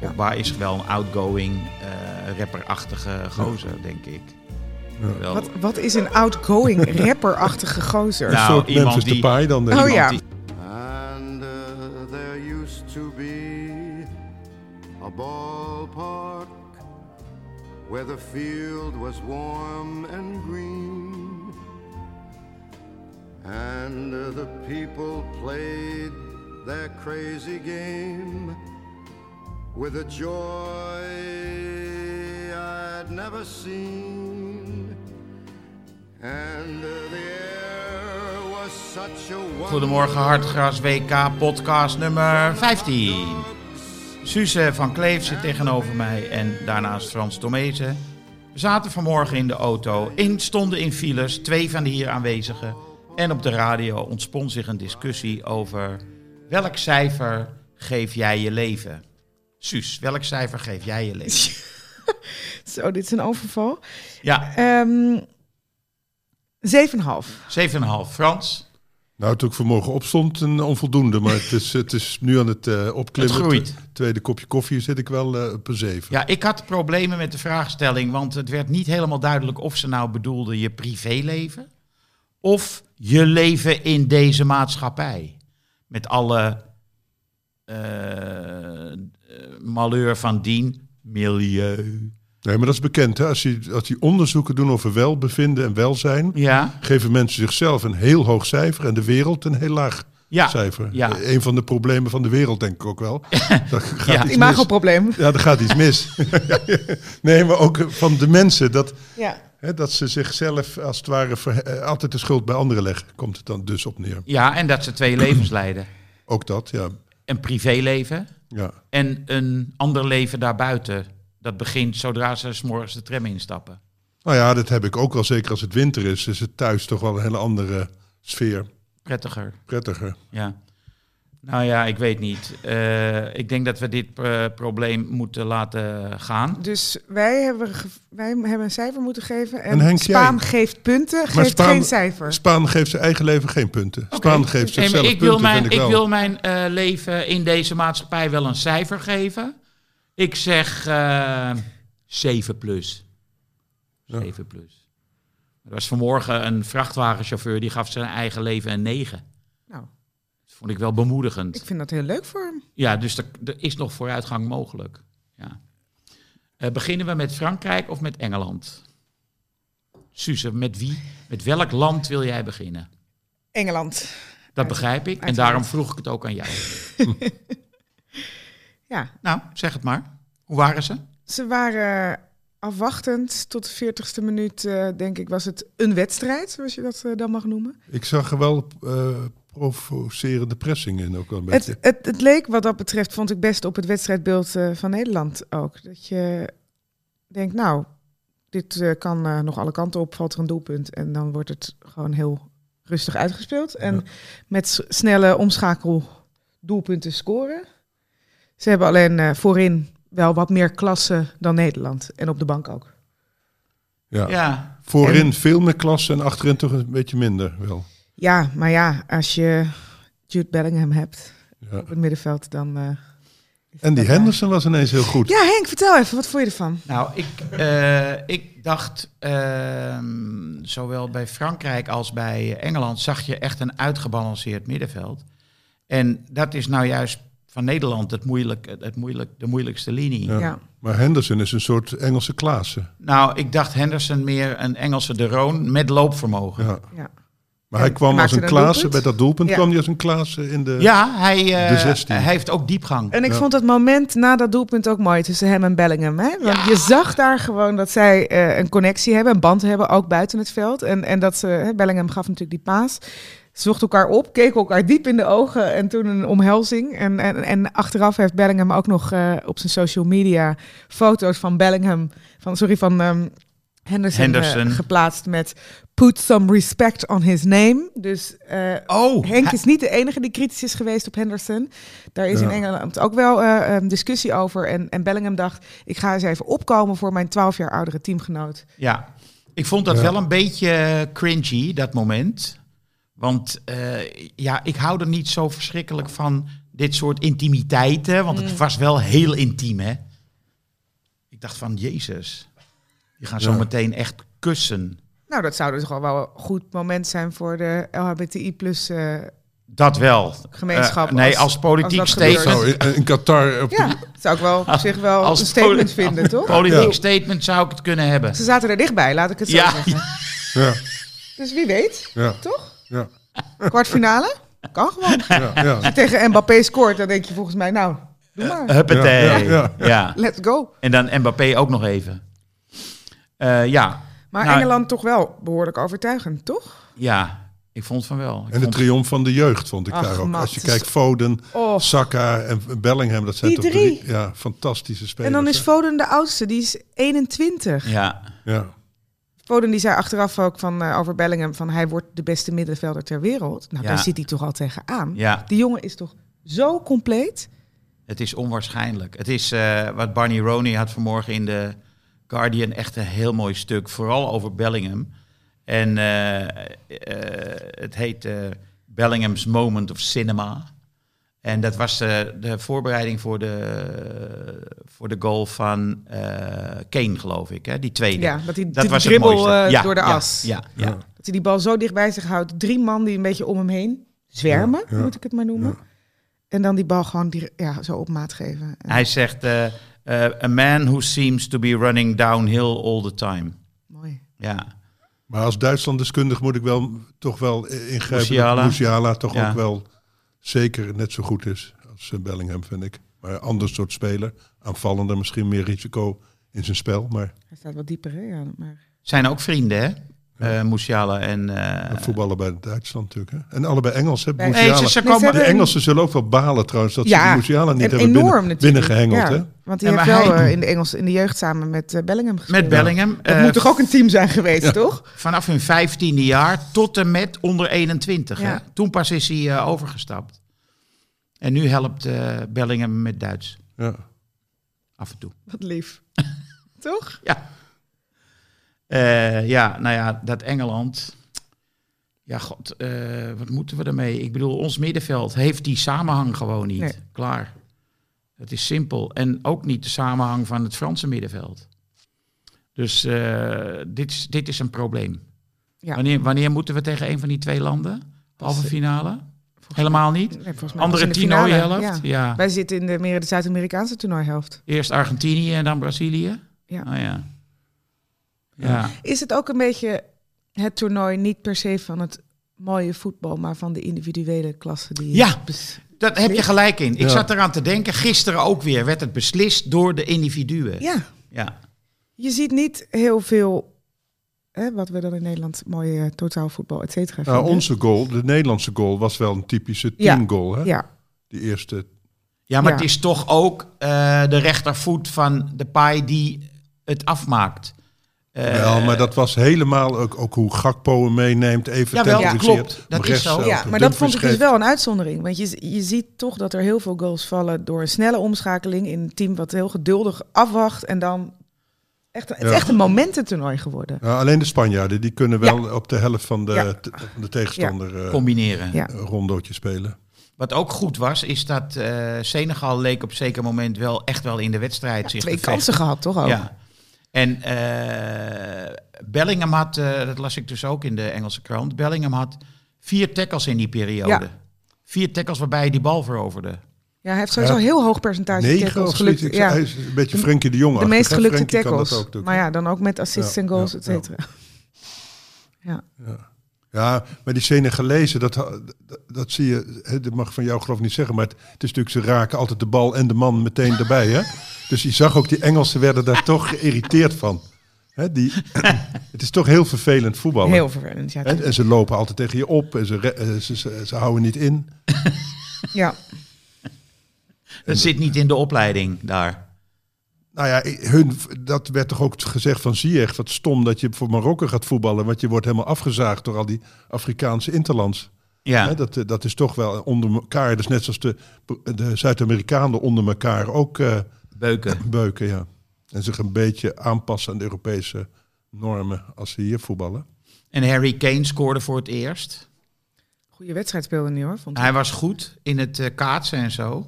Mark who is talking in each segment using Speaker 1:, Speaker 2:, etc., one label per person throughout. Speaker 1: Ja. Waar is wel een outgoing, eh, rapperachtige gozer, denk ik. Wel,
Speaker 2: Wat, wat is een outgoing rapperachtige gozer?
Speaker 1: Nou,
Speaker 3: een soort
Speaker 1: iemand
Speaker 3: Memphis
Speaker 1: die-
Speaker 3: Depay dan. denk ik.
Speaker 2: oh ja,
Speaker 1: die-
Speaker 4: And uh, there used to be a ballpark where the field was warm and green. And uh, the people played their crazy game with a joy I'd never seen. And uh, the air was such a wonderful
Speaker 1: Goedemorgen Hartgras WK podcast nummer 15. Suze van Kleef zit tegenover mij en daarnaast Frans Tomezen. We zaten vanmorgen in de auto, in, stonden in files, twee van de hier aanwezigen. En op de radio ontspon zich een discussie over welk cijfer geef jij je leven? Suus, welk cijfer geef jij je leven?
Speaker 2: zo, dit is een overval.
Speaker 1: Ja,
Speaker 2: Ehm 7,5.
Speaker 1: 7,5 Frans.
Speaker 3: Nou, toen ik vanmorgen opstond, een onvoldoende. Maar het is, het is nu aan het eh, opklimmen.
Speaker 1: Het groeit.
Speaker 3: Tweede kopje koffie zit ik wel eh, op een zeven.
Speaker 1: Ja, ik had problemen met de vraagstelling, want het werd niet helemaal duidelijk of ze nou bedoelde je privéleven of je leven in deze maatschappij. Met alle eh, eh, malheur van dien, milieu.
Speaker 3: Nee, maar dat is bekend. Hè? Als, je, als die onderzoeken doen over welbevinden en welzijn...
Speaker 1: Ja,
Speaker 3: geven mensen zichzelf een heel hoog cijfer... en de wereld een heel laag
Speaker 1: ja.
Speaker 3: cijfer.
Speaker 1: ja.
Speaker 3: Eh, Een van de problemen van de wereld, denk ik ook wel. Dat gaat
Speaker 1: Ja.
Speaker 3: iets mis.
Speaker 2: Imagoprobleem.
Speaker 3: Ja, er gaat iets mis. nee, maar ook eh, van de mensen. Dat,
Speaker 2: Ja.
Speaker 3: hè, dat ze zichzelf als het ware ver- eh, altijd de schuld bij anderen leggen. Komt het dan dus op neer.
Speaker 1: ja, en dat ze twee levens leiden.
Speaker 3: Ook dat, ja.
Speaker 1: Een privéleven
Speaker 3: ja.
Speaker 1: en een ander leven daarbuiten. Dat begint zodra ze 's morgens de tram instappen.
Speaker 3: Nou ja, dat heb ik ook wel. Zeker als het winter is, is het thuis toch wel een hele andere sfeer.
Speaker 1: Prettiger.
Speaker 3: Prettiger.
Speaker 1: Ja. Nou ja, ik weet niet. Eh, ik denk dat we dit eh, probleem moeten laten gaan.
Speaker 2: Dus wij hebben, ge- wij hebben een cijfer moeten geven. En,
Speaker 3: En Henk,
Speaker 2: Spaam
Speaker 3: jij?
Speaker 2: geeft punten, geeft
Speaker 3: Spaan-
Speaker 2: geen cijfer.
Speaker 3: Spaan geeft zijn eigen leven geen punten. Spaan geeft
Speaker 1: Nee, maar
Speaker 3: zichzelf
Speaker 1: ik
Speaker 3: punten,
Speaker 1: wil mijn,
Speaker 3: vind ik
Speaker 1: ik
Speaker 3: wel.
Speaker 1: wil mijn eh, leven in deze maatschappij wel een cijfer geven. Ik zeg eh 7 plus. 7 plus. Er was vanmorgen een vrachtwagenchauffeur die gaf zijn eigen leven een 9.
Speaker 2: Nou,
Speaker 1: Dat vond ik wel bemoedigend.
Speaker 2: ik vind dat heel leuk voor hem.
Speaker 1: Ja, dus er, er is nog vooruitgang mogelijk. Ja. Eh, beginnen we met Frankrijk of met Engeland? Suze, met wie? Met welk land wil jij beginnen?
Speaker 2: Engeland.
Speaker 1: Dat begrijp ik en
Speaker 2: Uiteraard.
Speaker 1: daarom vroeg ik het ook aan jou.
Speaker 2: Ja,
Speaker 1: Nou, zeg het maar. Hoe waren ze?
Speaker 2: ze waren afwachtend. Tot de 40ste minuut, eh, denk ik, was het een wedstrijd, zoals je dat eh, dan mag noemen.
Speaker 3: Ik zag er wel eh, provocerende pressing in ook wel een beetje.
Speaker 2: Het, het, het leek wat dat betreft, vond ik best op het wedstrijdbeeld eh, van Nederland ook. Dat je denkt, nou, dit eh, kan eh, nog alle kanten op, valt er een doelpunt. En dan wordt het gewoon heel rustig uitgespeeld. En
Speaker 3: Ja.
Speaker 2: met s- snelle omschakel doelpunten scoren. Ze hebben alleen eh, voorin wel wat meer klasse dan Nederland. En op de bank ook.
Speaker 3: ja.
Speaker 1: Ja,
Speaker 3: Voorin veel meer klasse en achterin toch een beetje minder wel.
Speaker 2: Ja, maar ja, als je Jude Bellingham hebt
Speaker 3: Ja.
Speaker 2: op het middenveld, dan... eh, is
Speaker 3: En
Speaker 2: dat,
Speaker 3: die
Speaker 2: eh,
Speaker 3: Henderson was ineens heel goed.
Speaker 2: Ja, Henk, vertel even, wat vond je ervan?
Speaker 1: nou, ik, eh, ik dacht, ehm, zowel bij Frankrijk als bij Engeland zag je echt een uitgebalanceerd middenveld. En dat is nou juist van Nederland het moeilijk, het moeilijk, de moeilijkste linie.
Speaker 3: Ja.
Speaker 2: Ja.
Speaker 3: Maar Henderson is een soort Engelse Klaassen.
Speaker 1: Nou, ik dacht Henderson meer een Engelse De Roon met loopvermogen. Ja,
Speaker 3: Ja.
Speaker 2: Ja.
Speaker 3: Maar hij
Speaker 2: En
Speaker 3: kwam als
Speaker 2: maakte
Speaker 3: een
Speaker 2: een
Speaker 3: Klaassen,
Speaker 2: doelpunt?
Speaker 3: bij dat doelpunt
Speaker 2: Ja.
Speaker 3: kwam hij als een Klaassen in de...
Speaker 1: hij, eh,
Speaker 3: De 16.
Speaker 1: hij heeft ook diepgang.
Speaker 2: En ik
Speaker 3: Ja.
Speaker 2: vond dat moment na dat doelpunt ook mooi tussen hem en Bellingham. Hè? Want je zag daar gewoon dat zij eh, een connectie hebben, een band hebben, ook buiten het veld. En, en dat ze, hè, Bellingham gaf natuurlijk die paas. Ze zochten elkaar op, keken elkaar diep in de ogen en toen een omhelzing. En, en, en achteraf heeft Bellingham ook nog eh, op zijn social media foto's van Bellingham, van, sorry, van ehm, Henderson, eh,
Speaker 1: Henderson.
Speaker 2: geplaatst met put some respect on his name. Dus eh,
Speaker 1: Oh,
Speaker 2: Henk
Speaker 1: hij-
Speaker 2: is niet de enige die kritisch is geweest op Henderson. Daar is in
Speaker 3: Ja.
Speaker 2: Engeland ook wel eh, eh, discussie over. En, en Bellingham dacht, ik ga eens even opkomen voor mijn 12 jaar oudere teamgenoot.
Speaker 1: ja. Ik vond dat
Speaker 3: Ja.
Speaker 1: wel een beetje cringy, dat moment. Want eh, ja, ik hou er niet zo verschrikkelijk van dit soort intimiteiten. Want
Speaker 2: Mm.
Speaker 1: het was wel heel intiem, hè. Ik dacht van, jezus. Die gaan zo
Speaker 3: Ja.
Speaker 1: meteen echt kussen.
Speaker 2: Nou, dat zou dus gewoon wel een goed moment zijn voor de LHBTI plus eh,
Speaker 1: Dat wel.
Speaker 2: gemeenschap.
Speaker 1: Eh, nee, als, politiek
Speaker 2: als dat
Speaker 1: statement.
Speaker 2: gebeurt.
Speaker 3: Zo, in, in Qatar. Op
Speaker 2: Ja, zou ik wel op zich wel
Speaker 1: Als
Speaker 2: een statement
Speaker 1: poli-
Speaker 2: vinden, toch?
Speaker 1: Politiek
Speaker 3: Ja.
Speaker 1: statement zou ik het kunnen hebben.
Speaker 2: Ze zaten er dichtbij, laat ik het zo
Speaker 1: Ja.
Speaker 2: zeggen.
Speaker 3: de- ja,
Speaker 2: Dus wie weet,
Speaker 3: ja,
Speaker 2: toch?
Speaker 3: ja,
Speaker 2: Kwartfinale? Kan gewoon.
Speaker 3: ja, ja.
Speaker 2: Tegen Mbappé scoort, dan denk je volgens mij, nou, doe maar.
Speaker 1: Huppatee.
Speaker 3: Ja,
Speaker 1: Ja,
Speaker 3: ja, ja.
Speaker 2: Let's go.
Speaker 1: En dan Mbappé ook nog even. Eh, ja.
Speaker 2: Maar
Speaker 1: Nou,
Speaker 2: Engeland toch wel behoorlijk overtuigend, toch?
Speaker 1: Ja, ik vond van wel. Ik
Speaker 3: En de
Speaker 1: vond-
Speaker 3: triomf van de jeugd vond ik
Speaker 2: Ach,
Speaker 3: daar ook.
Speaker 2: man,
Speaker 3: Als je
Speaker 2: het is-
Speaker 3: kijkt, Foden,
Speaker 2: Oh.
Speaker 3: Saka en Bellingham, dat zijn
Speaker 2: Die
Speaker 3: toch
Speaker 2: drie.
Speaker 3: ja, fantastische spelers.
Speaker 2: En dan is
Speaker 3: hè?
Speaker 2: Foden de oudste, die is 21.
Speaker 1: ja.
Speaker 3: ja.
Speaker 2: Foden die zei achteraf ook van, eh, over Bellingham van hij wordt de beste middenvelder ter wereld. Nou,
Speaker 1: Ja.
Speaker 2: daar zit hij toch al tegenaan.
Speaker 1: ja,
Speaker 2: Die jongen is toch zo compleet.
Speaker 1: het is onwaarschijnlijk. Het is eh, wat Barney Roney had vanmorgen in de Guardian echt een heel mooi stuk. Vooral over Bellingham. En eh, eh, het heet eh, Bellingham's Moment of Cinema. En dat was eh, de voorbereiding voor de, voor de goal van eh, Kane, geloof ik. Hè? Die tweede.
Speaker 2: Ja, dat hij
Speaker 1: Dat
Speaker 2: die
Speaker 1: was het
Speaker 2: dribbel
Speaker 1: mooiste.
Speaker 2: eh,
Speaker 1: Ja,
Speaker 2: door de
Speaker 1: ja,
Speaker 2: as.
Speaker 1: Ja, ja,
Speaker 3: Ja.
Speaker 2: Dat hij die bal zo dicht bij zich houdt. Drie man die een beetje om hem heen zwermen,
Speaker 3: Ja, ja,
Speaker 2: moet ik het maar noemen. En dan die bal gewoon die, ja, zo op maat geven. En-
Speaker 1: Hij zegt, eh, eh, a man who seems to be running downhill all the time.
Speaker 2: Mooi.
Speaker 1: Ja,
Speaker 3: Maar als Duitslanddeskundig moet ik wel toch wel ingrijpen
Speaker 1: Musiala.
Speaker 3: dat Musiala toch
Speaker 1: Ja.
Speaker 3: ook wel zeker net zo goed is als eh, Bellingham, vind ik. Maar een ander soort speler, aanvallender, misschien meer risico in zijn spel. Maar
Speaker 2: Hij staat wat dieper, hè? Ja, maar...
Speaker 1: zijn ook vrienden, hè? Eh Musiala en... eh,
Speaker 3: voetballen voetballer bij Duitsland natuurlijk. Hè? En allebei Engels, hè?
Speaker 2: Nee,
Speaker 1: Nee,
Speaker 3: Musiala.
Speaker 1: ze, ze
Speaker 2: Nee, ze
Speaker 1: komen...
Speaker 2: hebben-
Speaker 3: de Engelsen zullen ook wel balen trouwens dat ze
Speaker 2: Ja,
Speaker 3: die Musiala niet
Speaker 2: En
Speaker 3: hebben
Speaker 2: enorm
Speaker 3: binnen,
Speaker 2: natuurlijk.
Speaker 3: binnengehengeld.
Speaker 2: Ja,
Speaker 3: Hè?
Speaker 2: Want hij
Speaker 1: Ja,
Speaker 2: heeft
Speaker 1: maar
Speaker 2: wel
Speaker 1: hij-
Speaker 2: eh, in, de Engels, in de jeugd samen met eh, Bellingham gespeeld.
Speaker 1: Met Bellingham.
Speaker 2: Dat
Speaker 1: eh,
Speaker 2: moet toch ook een team zijn geweest, toch?
Speaker 1: Vanaf hun vijftiende jaar tot en met onder 21.
Speaker 2: Ja.
Speaker 1: Hè? Toen pas is hij eh, overgestapt. En nu helpt eh, Bellingham met Duits.
Speaker 3: Ja.
Speaker 1: Af en toe.
Speaker 2: Wat lief. Toch?
Speaker 1: Eh, ja, nou ja, dat Engeland. Ja, god, eh, wat moeten we ermee? Ik bedoel, ons middenveld heeft die samenhang gewoon niet.
Speaker 2: Nee.
Speaker 1: Klaar. Het is simpel. En ook niet de samenhang van het Franse middenveld. Dus eh, dit, is, dit is een probleem.
Speaker 2: Ja. eh,
Speaker 1: Wanneer, wanneer moeten we tegen een van die twee landen? Halve finale? Helemaal niet?
Speaker 2: Nee, volgens mij
Speaker 1: Andere
Speaker 2: was in de finale,
Speaker 1: toernooihelft?
Speaker 2: ja.
Speaker 1: ja.
Speaker 2: Wij zitten in de, meer in de Zuid-Amerikaanse toernooihelft.
Speaker 1: Eerst Argentinië en dan Brazilië?
Speaker 2: Ja.
Speaker 1: Ah, ja. Ja.
Speaker 2: Is het ook een beetje het toernooi niet per se van het mooie voetbal, maar van de individuele klassen die...
Speaker 1: Ja. Dat heb je gelijk in. Ik
Speaker 3: Ja.
Speaker 1: zat eraan te denken, gisteren ook weer werd het beslist door de individuen.
Speaker 2: Ja.
Speaker 1: Ja.
Speaker 2: Je ziet niet heel veel, hè, wat we dan in Nederland mooie eh, totaalvoetbal, et cetera
Speaker 3: Nou,
Speaker 2: vinden.
Speaker 3: onze goal, de Nederlandse goal, was wel een typische
Speaker 2: Ja.
Speaker 3: teamgoal. Hè?
Speaker 2: Ja,
Speaker 3: Die eerste.
Speaker 1: Ja, maar
Speaker 2: Ja.
Speaker 1: het is toch ook eh, de rechtervoet van de paai die het afmaakt. Eh,
Speaker 3: wel, maar dat was helemaal ook, ook hoe Gakpo hem meeneemt. Even
Speaker 1: Jawel, ja,
Speaker 3: temporiseert,
Speaker 1: klopt.
Speaker 3: hem
Speaker 1: Dat is
Speaker 3: rechts
Speaker 1: zo.
Speaker 3: uit,
Speaker 2: ja
Speaker 3: een
Speaker 2: maar dat
Speaker 3: dumfries
Speaker 2: vond ik dus
Speaker 3: geeft.
Speaker 2: wel een uitzondering. Want je, je ziet toch dat er heel veel goals vallen door een snelle omschakeling in een team wat heel geduldig afwacht. En dan echt, het is
Speaker 3: Ja.
Speaker 2: echt een momententoernooi geworden.
Speaker 3: Ja, alleen de Spanjaarden, die kunnen wel op de helft van de,
Speaker 2: Ja.
Speaker 3: te- van de tegenstander eh,
Speaker 1: combineren.
Speaker 2: Ja.
Speaker 3: een rondootje spelen.
Speaker 1: Wat ook goed was, is dat eh, Senegal leek op zeker moment wel echt wel in de wedstrijd zich
Speaker 2: Twee
Speaker 1: te vechten.
Speaker 2: kansen gehad, toch ook?
Speaker 1: Ja. En eh, Bellingham had, eh, dat las ik dus ook in de Engelse krant, Bellingham had vier tackles in die periode.
Speaker 2: Ja.
Speaker 1: Vier tackles waarbij hij die bal veroverde.
Speaker 2: Ja, hij heeft sowieso
Speaker 3: Ja.
Speaker 2: een heel hoog percentage
Speaker 3: Negen
Speaker 2: tackles
Speaker 3: of zoiets.
Speaker 2: gelukt.
Speaker 3: Ik zei,
Speaker 2: Ja,
Speaker 3: hij is een beetje Frenkie de Jong.
Speaker 2: de meest gelukte
Speaker 3: tackles.
Speaker 2: tackles. Maar ja, dan ook met assists
Speaker 3: Ja,
Speaker 2: en goals,
Speaker 3: ja,
Speaker 2: et cetera.
Speaker 3: Ja, maar die Senegalezen, dat, dat, dat zie je, hè, dat mag ik van jou geloof ik niet zeggen, maar het, het is natuurlijk, ze raken altijd de bal en de man meteen erbij. Hè? Dus je zag ook, die Engelsen werden daar toch geïrriteerd van. Hè, die, het is toch heel vervelend voetballen.
Speaker 2: Heel vervelend, ja.
Speaker 3: en, en ze lopen altijd tegen je op en ze, re- eh, ze, ze, ze houden niet in.
Speaker 2: ja.
Speaker 1: Dat zit niet in de opleiding daar.
Speaker 3: Nou ja, hun, dat werd toch ook gezegd van Ziyech, wat stom dat je voor Marokko gaat voetballen, want je wordt helemaal afgezaagd door al die Afrikaanse interlands. Hè,
Speaker 1: Ja,
Speaker 3: dat, eh, dat is toch wel onder elkaar. Dus net zoals de, de Zuid-Amerikanen onder elkaar ook eh,
Speaker 1: beuken.
Speaker 3: beuken. Ja. En zich een beetje aanpassen aan de Europese normen als ze hier voetballen.
Speaker 1: En Harry Kane scoorde voor het eerst.
Speaker 2: Goede wedstrijd speelde nu hoor, vond ik.
Speaker 1: Hij was goed in het eh, kaatsen en zo.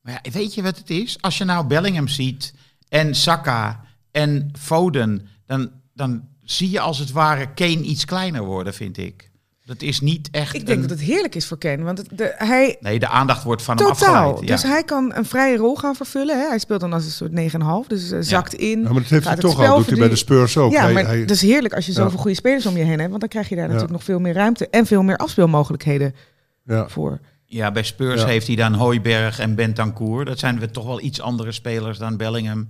Speaker 1: Maar ja, weet je wat het is? Als je nou Bellingham ziet en Saka en Foden, dan, dan zie je als het ware Kane iets kleiner worden, vind ik. Dat is niet echt.
Speaker 2: Ik denk
Speaker 1: een-
Speaker 2: dat het heerlijk is voor Kane, want het- de, hij
Speaker 1: Nee, de aandacht wordt van hem
Speaker 2: Totaal.
Speaker 1: afgeleid. Ja.
Speaker 2: Dus hij kan een vrije rol gaan vervullen. Hè? Hij speelt dan als een soort 9,5. Dus eh, zakt in.
Speaker 3: Ja, maar dat heeft
Speaker 2: Gaat
Speaker 3: hij
Speaker 2: het
Speaker 3: toch
Speaker 2: spel
Speaker 3: al. Doet hij bij de
Speaker 2: verdienen.
Speaker 3: Spurs ook.
Speaker 2: ja,
Speaker 3: hij,
Speaker 2: maar dus-
Speaker 3: hij-
Speaker 2: dat is heerlijk als je zoveel
Speaker 3: Ja.
Speaker 2: goede spelers om je heen hebt. Want dan krijg je daar natuurlijk nog veel meer ruimte en veel meer afspeelmogelijkheden
Speaker 3: ja.
Speaker 2: voor.
Speaker 1: Ja, bij Spurs
Speaker 3: Ja.
Speaker 1: heeft hij dan Hooiberg en Bentancourt. Dat zijn we toch wel iets andere spelers dan Bellingham.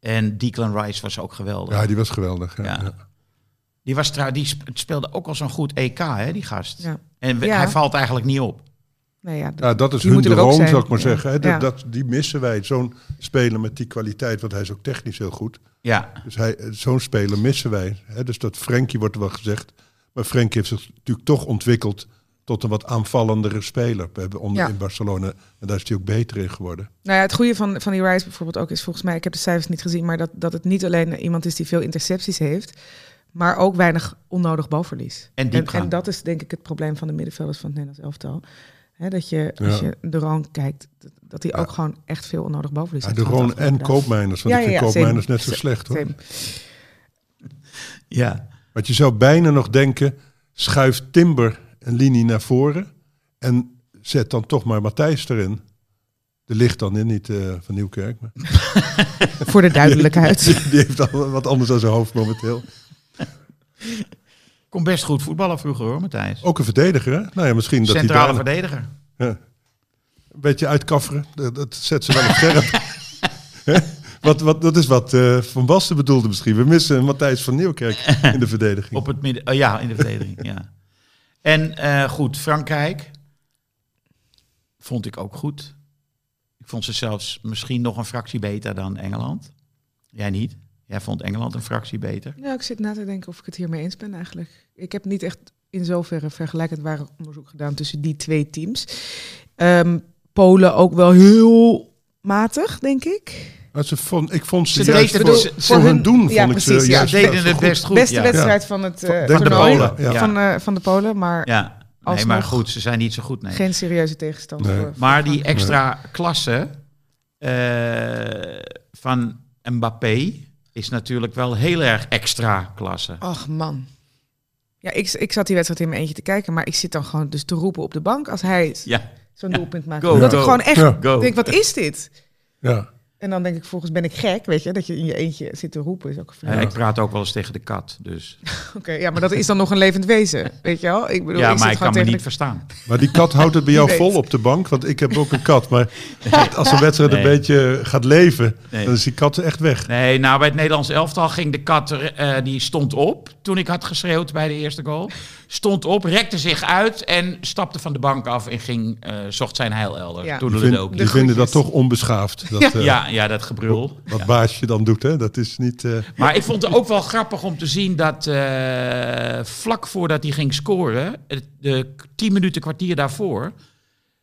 Speaker 1: En Declan Rice was ook geweldig.
Speaker 3: ja, die was geweldig. Ja,
Speaker 1: Ja.
Speaker 3: ja.
Speaker 1: Die, was trouw, die sp- speelde ook al zo'n goed EK, hè, die gast.
Speaker 2: Ja.
Speaker 1: En we-
Speaker 2: Ja.
Speaker 1: hij valt eigenlijk niet op.
Speaker 2: Nee, Nou ja, dat-
Speaker 3: Ja, dat is
Speaker 2: Die
Speaker 3: hun
Speaker 2: moeten er ook
Speaker 3: droom,
Speaker 2: zijn.
Speaker 3: zou ik maar
Speaker 2: Ja.
Speaker 3: zeggen. Hè? Dat,
Speaker 2: Ja.
Speaker 3: dat, die missen wij. Zo'n speler met die kwaliteit, want hij is ook technisch heel goed.
Speaker 1: Ja,
Speaker 3: Dus hij- zo'n speler missen wij. Hè? Dus dat Frenkie wordt er wel gezegd. Maar Frenkie heeft zich natuurlijk toch ontwikkeld tot een wat aanvallendere speler. We hebben onder
Speaker 2: Ja.
Speaker 3: in Barcelona. En daar is hij ook beter in geworden.
Speaker 2: Nou ja, het goede van, van die Rice bijvoorbeeld ook is volgens mij, ik heb de cijfers niet gezien, maar dat, dat het niet alleen iemand is die veel intercepties heeft, maar ook weinig onnodig balverlies.
Speaker 1: En
Speaker 2: en,
Speaker 1: diepgang.
Speaker 2: dat is denk ik het probleem van de middenvelders van het Nederlands elftal. Hè, dat je,
Speaker 3: Ja.
Speaker 2: als je de Roon kijkt, dat- dat hij ook gewoon echt veel onnodig balverlies
Speaker 3: Ja,
Speaker 2: heeft.
Speaker 3: de
Speaker 2: gehad
Speaker 3: Roon en
Speaker 2: afgelopen dagen.
Speaker 3: Koopmijners. Want
Speaker 2: Ja,
Speaker 3: ik vind
Speaker 2: ja, ja,
Speaker 3: Koopmijners
Speaker 2: same.
Speaker 3: net zo slecht hoor.
Speaker 2: Same.
Speaker 1: ja.
Speaker 3: Want je zou bijna nog denken, schuif Timber een linie naar voren. En zet dan toch maar Matthijs erin. De ligt dan in, niet eh, van Nieuwkerk. Maar
Speaker 2: Voor de duidelijkheid.
Speaker 3: die heeft al wat anders aan zijn hoofd momenteel.
Speaker 1: Kon best goed voetballen vroeger hoor, Matthijs.
Speaker 3: Ook een verdediger, hè? Nou ja, misschien dat Oh, hij
Speaker 1: Centrale
Speaker 3: daar
Speaker 1: verdediger.
Speaker 3: Een beetje uitkafferen, dat, dat zet ze wel op scherp. Hè? wat, wat, dat is wat eh, Van Basten bedoelde misschien. We missen een Matthijs van Nieuwkerk in de verdediging.
Speaker 1: Op het midden, oh ja, in de verdediging, ja. En eh, goed, Frankrijk vond ik ook goed. Ik vond ze zelfs misschien nog een fractie beter dan Engeland. Jij niet? Jij vond Engeland een fractie beter.
Speaker 2: nou, ik zit na te denken of ik het hiermee eens ben eigenlijk. Ik heb niet echt in zoverre vergelijkend waar onderzoek gedaan tussen die twee teams. Ehm, Polen ook wel heel matig, denk ik.
Speaker 3: Maar ze vond, ik vond ze,
Speaker 1: Ze
Speaker 3: juist
Speaker 1: deden-
Speaker 3: voor,
Speaker 1: ze-
Speaker 3: voor
Speaker 2: voor
Speaker 3: hun
Speaker 2: hun-
Speaker 3: doen,
Speaker 2: ja,
Speaker 3: vond
Speaker 2: precies,
Speaker 3: ik ze
Speaker 2: ja.
Speaker 1: Ja,
Speaker 3: juist
Speaker 1: ze deden
Speaker 3: wel
Speaker 1: het
Speaker 3: goed.
Speaker 1: best goed.
Speaker 2: beste
Speaker 1: ja.
Speaker 2: wedstrijd van, het, eh,
Speaker 3: Van-
Speaker 2: van,
Speaker 3: de
Speaker 2: de
Speaker 3: Polen,
Speaker 2: Polen.
Speaker 3: ja.
Speaker 2: Van, eh, van de Polen, maar
Speaker 1: Ja, nee,
Speaker 2: Alsnog.
Speaker 1: maar goed, ze zijn niet zo goed. Nee.
Speaker 2: geen serieuze tegenstander.
Speaker 3: Nee.
Speaker 2: voor-
Speaker 1: Maar die extra klasse eh, van Mbappé is natuurlijk wel heel erg extra klasse.
Speaker 2: Ach man. Ja, ik, ik zat die wedstrijd in mijn eentje te kijken, maar ik zit dan gewoon dus te roepen op de bank als hij het-
Speaker 1: Ja,
Speaker 2: zo'n
Speaker 1: Ja.
Speaker 2: doelpunt maakt.
Speaker 1: Go,
Speaker 2: Omdat
Speaker 1: go.
Speaker 2: ik gewoon echt
Speaker 3: Ja.
Speaker 1: go.
Speaker 2: denk, wat is dit?
Speaker 3: Ja.
Speaker 2: En dan denk ik, volgens ben ik gek, weet je, dat je in je eentje zit te roepen. Is ook een
Speaker 1: Eh,
Speaker 2: flauw.
Speaker 1: ik praat ook wel eens tegen de kat, dus.
Speaker 2: Oké, ja, maar dat is dan nog een levend wezen, weet je wel? Ik bedoel,
Speaker 1: ja,
Speaker 2: ik
Speaker 1: maar
Speaker 2: zit
Speaker 1: ik
Speaker 2: gewoon
Speaker 1: kan me
Speaker 2: tegen
Speaker 1: niet
Speaker 2: de-
Speaker 1: verstaan.
Speaker 3: Maar die kat houdt het bij jou
Speaker 2: Wie
Speaker 3: vol
Speaker 2: weet.
Speaker 3: op de bank, want ik heb ook een kat. Maar als een wedstrijd een
Speaker 1: Nee.
Speaker 3: beetje gaat leven,
Speaker 1: Nee.
Speaker 3: dan is die kat echt weg.
Speaker 1: Nee, nou bij het Nederlands elftal ging de kat, er, eh, die stond op toen ik had geschreeuwd bij de eerste goal. Stond op, rekte zich uit en stapte van de bank af en ging, eh, zocht zijn heil elders.
Speaker 2: Ja.
Speaker 1: Toen
Speaker 3: Die,
Speaker 1: het
Speaker 3: vind-
Speaker 1: ook.
Speaker 3: die vinden dat
Speaker 2: groetjes.
Speaker 3: toch onbeschaafd. Dat, eh,
Speaker 1: ja, ja, dat gebrul.
Speaker 3: Wat baasje dan doet, hè? dat is niet... eh,
Speaker 1: Maar ik vond het ook wel grappig om te zien dat eh, vlak voordat hij ging scoren, eh, de k- 10 minuten kwartier daarvoor,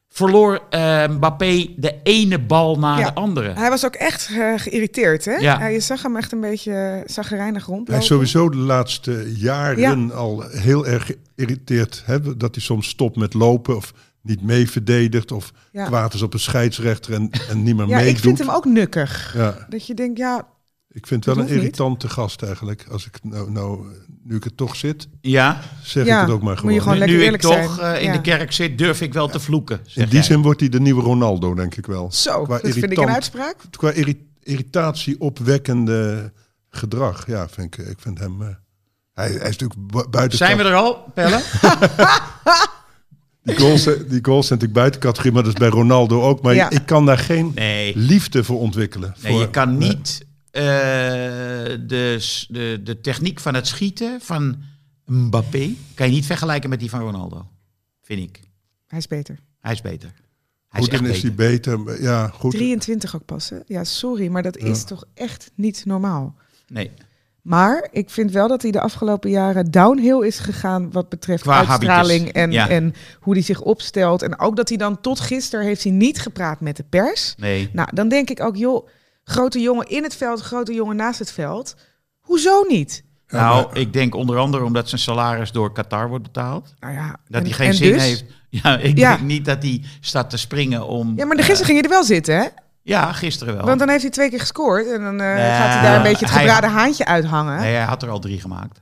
Speaker 1: verloor eh Mbappé de ene bal na
Speaker 2: Ja.
Speaker 1: de andere.
Speaker 2: Hij was ook echt eh, geïrriteerd, hè?
Speaker 1: Ja.
Speaker 2: Ja. je zag hem echt een beetje eh, zagrijnig rondlopen.
Speaker 3: Hij is sowieso de laatste jaren al heel erg geïrriteerd. Hè? Dat hij soms stopt met lopen of niet mee verdedigt. Of
Speaker 2: Ja.
Speaker 3: kwaad is op een scheidsrechter en, en niet meer
Speaker 2: Ja,
Speaker 3: meedoet.
Speaker 2: ik vind hem ook nukkig.
Speaker 3: Ja.
Speaker 2: Dat je denkt, ja,
Speaker 3: Ik vind het wel
Speaker 2: Dat
Speaker 3: een
Speaker 2: hoeft niet.
Speaker 3: irritante gast eigenlijk. Als ik nou, nou, nu ik er toch zit,
Speaker 1: Ja,
Speaker 3: zeg
Speaker 2: Ja,
Speaker 3: ik het ook maar
Speaker 2: moet je
Speaker 3: gewoon.
Speaker 2: gewoon
Speaker 1: nu,
Speaker 2: lekker
Speaker 1: nu ik
Speaker 2: eerlijk
Speaker 1: toch
Speaker 2: zijn.
Speaker 1: eh, in
Speaker 2: Ja.
Speaker 1: de kerk zit, durf ik wel te vloeken. zeg
Speaker 3: In die
Speaker 1: jij.
Speaker 3: zin wordt hij de nieuwe Ronaldo, denk ik wel.
Speaker 2: Zo,
Speaker 3: Qua
Speaker 2: dat vind ik een
Speaker 3: irritant.
Speaker 2: uitspraak.
Speaker 3: Qua irri- irritatie opwekkende gedrag. Ja, vind ik, ik vind hem... eh, hij, hij is natuurlijk bu- buiten...
Speaker 1: Zijn we er al, Pelle?
Speaker 3: Die goals, eh, die goals zijn natuurlijk buiten categorie, maar dat is bij Ronaldo ook. Maar
Speaker 2: Ja.
Speaker 3: ik kan daar geen
Speaker 1: Nee,
Speaker 3: liefde voor ontwikkelen.
Speaker 1: nee
Speaker 3: Voor-
Speaker 1: je kan
Speaker 3: Nee.
Speaker 1: niet eh, de, s- de, de techniek van het schieten van Mbappé... kan je niet vergelijken met die van Ronaldo, vind ik.
Speaker 2: Hij is beter.
Speaker 1: Hij is beter. Hij is
Speaker 3: Goed,
Speaker 1: echt
Speaker 3: dan is hij
Speaker 1: beter.
Speaker 3: beter. maar Ja, goed.
Speaker 2: 23 ook passen. Ja, sorry, maar dat is toch echt niet normaal.
Speaker 1: Nee,
Speaker 2: Maar ik vind wel dat hij de afgelopen jaren downhill is gegaan wat betreft
Speaker 1: Qua
Speaker 2: uitstraling
Speaker 1: habitus,
Speaker 2: en,
Speaker 1: ja.
Speaker 2: en hoe hij zich opstelt. En ook dat hij dan tot gisteren heeft hij niet gepraat met de pers.
Speaker 1: nee.
Speaker 2: Nou, dan denk ik ook, joh, grote jongen in het veld, grote jongen naast het veld. Hoezo niet?
Speaker 1: nou, ik denk onder andere omdat zijn salaris door Qatar wordt betaald.
Speaker 2: Nou ja,
Speaker 1: Dat
Speaker 2: en-
Speaker 1: hij geen
Speaker 2: en
Speaker 1: zin
Speaker 2: dus?
Speaker 1: heeft. Ja, ik
Speaker 2: Ja.
Speaker 1: denk niet dat hij staat te springen om...
Speaker 2: Ja, maar de gisteren ging hij er wel zitten, hè?
Speaker 1: Ja, gisteren wel.
Speaker 2: Want dan heeft hij twee keer gescoord en dan eh,
Speaker 1: Oh. Nee,
Speaker 2: gaat hij daar een beetje het
Speaker 1: hij-
Speaker 2: gebraden haantje uithangen.
Speaker 1: Nee, hij had er al drie gemaakt.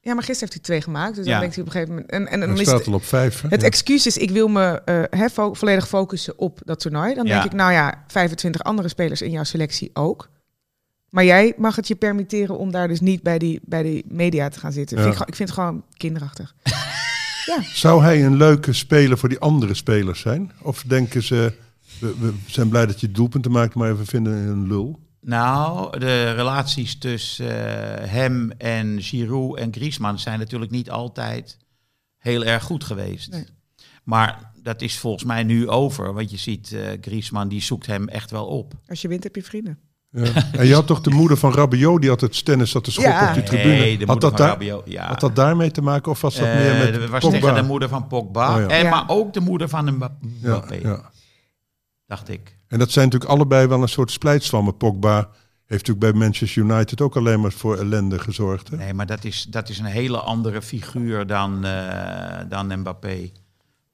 Speaker 2: Ja, maar gisteren heeft hij twee gemaakt, dus
Speaker 1: Ja.
Speaker 2: dan denkt hij op een gegeven moment... En, en, dan
Speaker 3: Hij
Speaker 2: is het,
Speaker 3: staat al op vijf. hè?
Speaker 2: het
Speaker 3: Ja.
Speaker 2: excuus is, ik wil me eh, hè, vo- volledig focussen op dat toernooi. Dan
Speaker 1: Ja.
Speaker 2: denk ik, nou ja, 25 andere spelers in jouw selectie ook. Maar jij mag het je permitteren om daar dus niet bij die, bij die media te gaan zitten.
Speaker 3: Ja.
Speaker 2: Vind ik, gewoon- ik vind het gewoon kinderachtig.
Speaker 3: Zou hij een leuke speler voor die andere spelers zijn? Of denken ze, we, we zijn blij dat je doelpunten maakt, maar we vinden je een lul?
Speaker 1: Nou, de relaties tussen eh, hem en Giroud en Griezmann zijn natuurlijk niet altijd heel erg goed geweest.
Speaker 2: Nee.
Speaker 1: Maar dat is volgens mij nu over, want je ziet eh Griezmann die zoekt hem echt wel op.
Speaker 2: Als je wint, heb je vrienden.
Speaker 3: Ja. En je had toch de moeder van Rabiot, die had het tennis zat te schoppen
Speaker 2: Ja.
Speaker 3: op die
Speaker 2: Nee,
Speaker 3: tribune.
Speaker 1: Nee, de
Speaker 3: had,
Speaker 1: moeder
Speaker 3: dat
Speaker 1: van
Speaker 3: daar-
Speaker 1: Rabiot, ja.
Speaker 3: had dat daarmee te maken of was dat
Speaker 1: Eh,
Speaker 3: meer met
Speaker 1: dat was
Speaker 3: Pogba?
Speaker 1: tegen de moeder van Pogba,
Speaker 3: Oh ja.
Speaker 1: en,
Speaker 2: Ja.
Speaker 1: maar ook de moeder van Mba-
Speaker 3: ja,
Speaker 1: Mbappé,
Speaker 3: ja.
Speaker 1: dacht ik.
Speaker 3: En dat zijn natuurlijk allebei wel een soort splijtswammen. Pogba heeft natuurlijk bij Manchester United ook alleen maar voor ellende gezorgd. Hè?
Speaker 1: Nee, maar dat is, dat is een hele andere figuur dan, eh, dan Mbappé.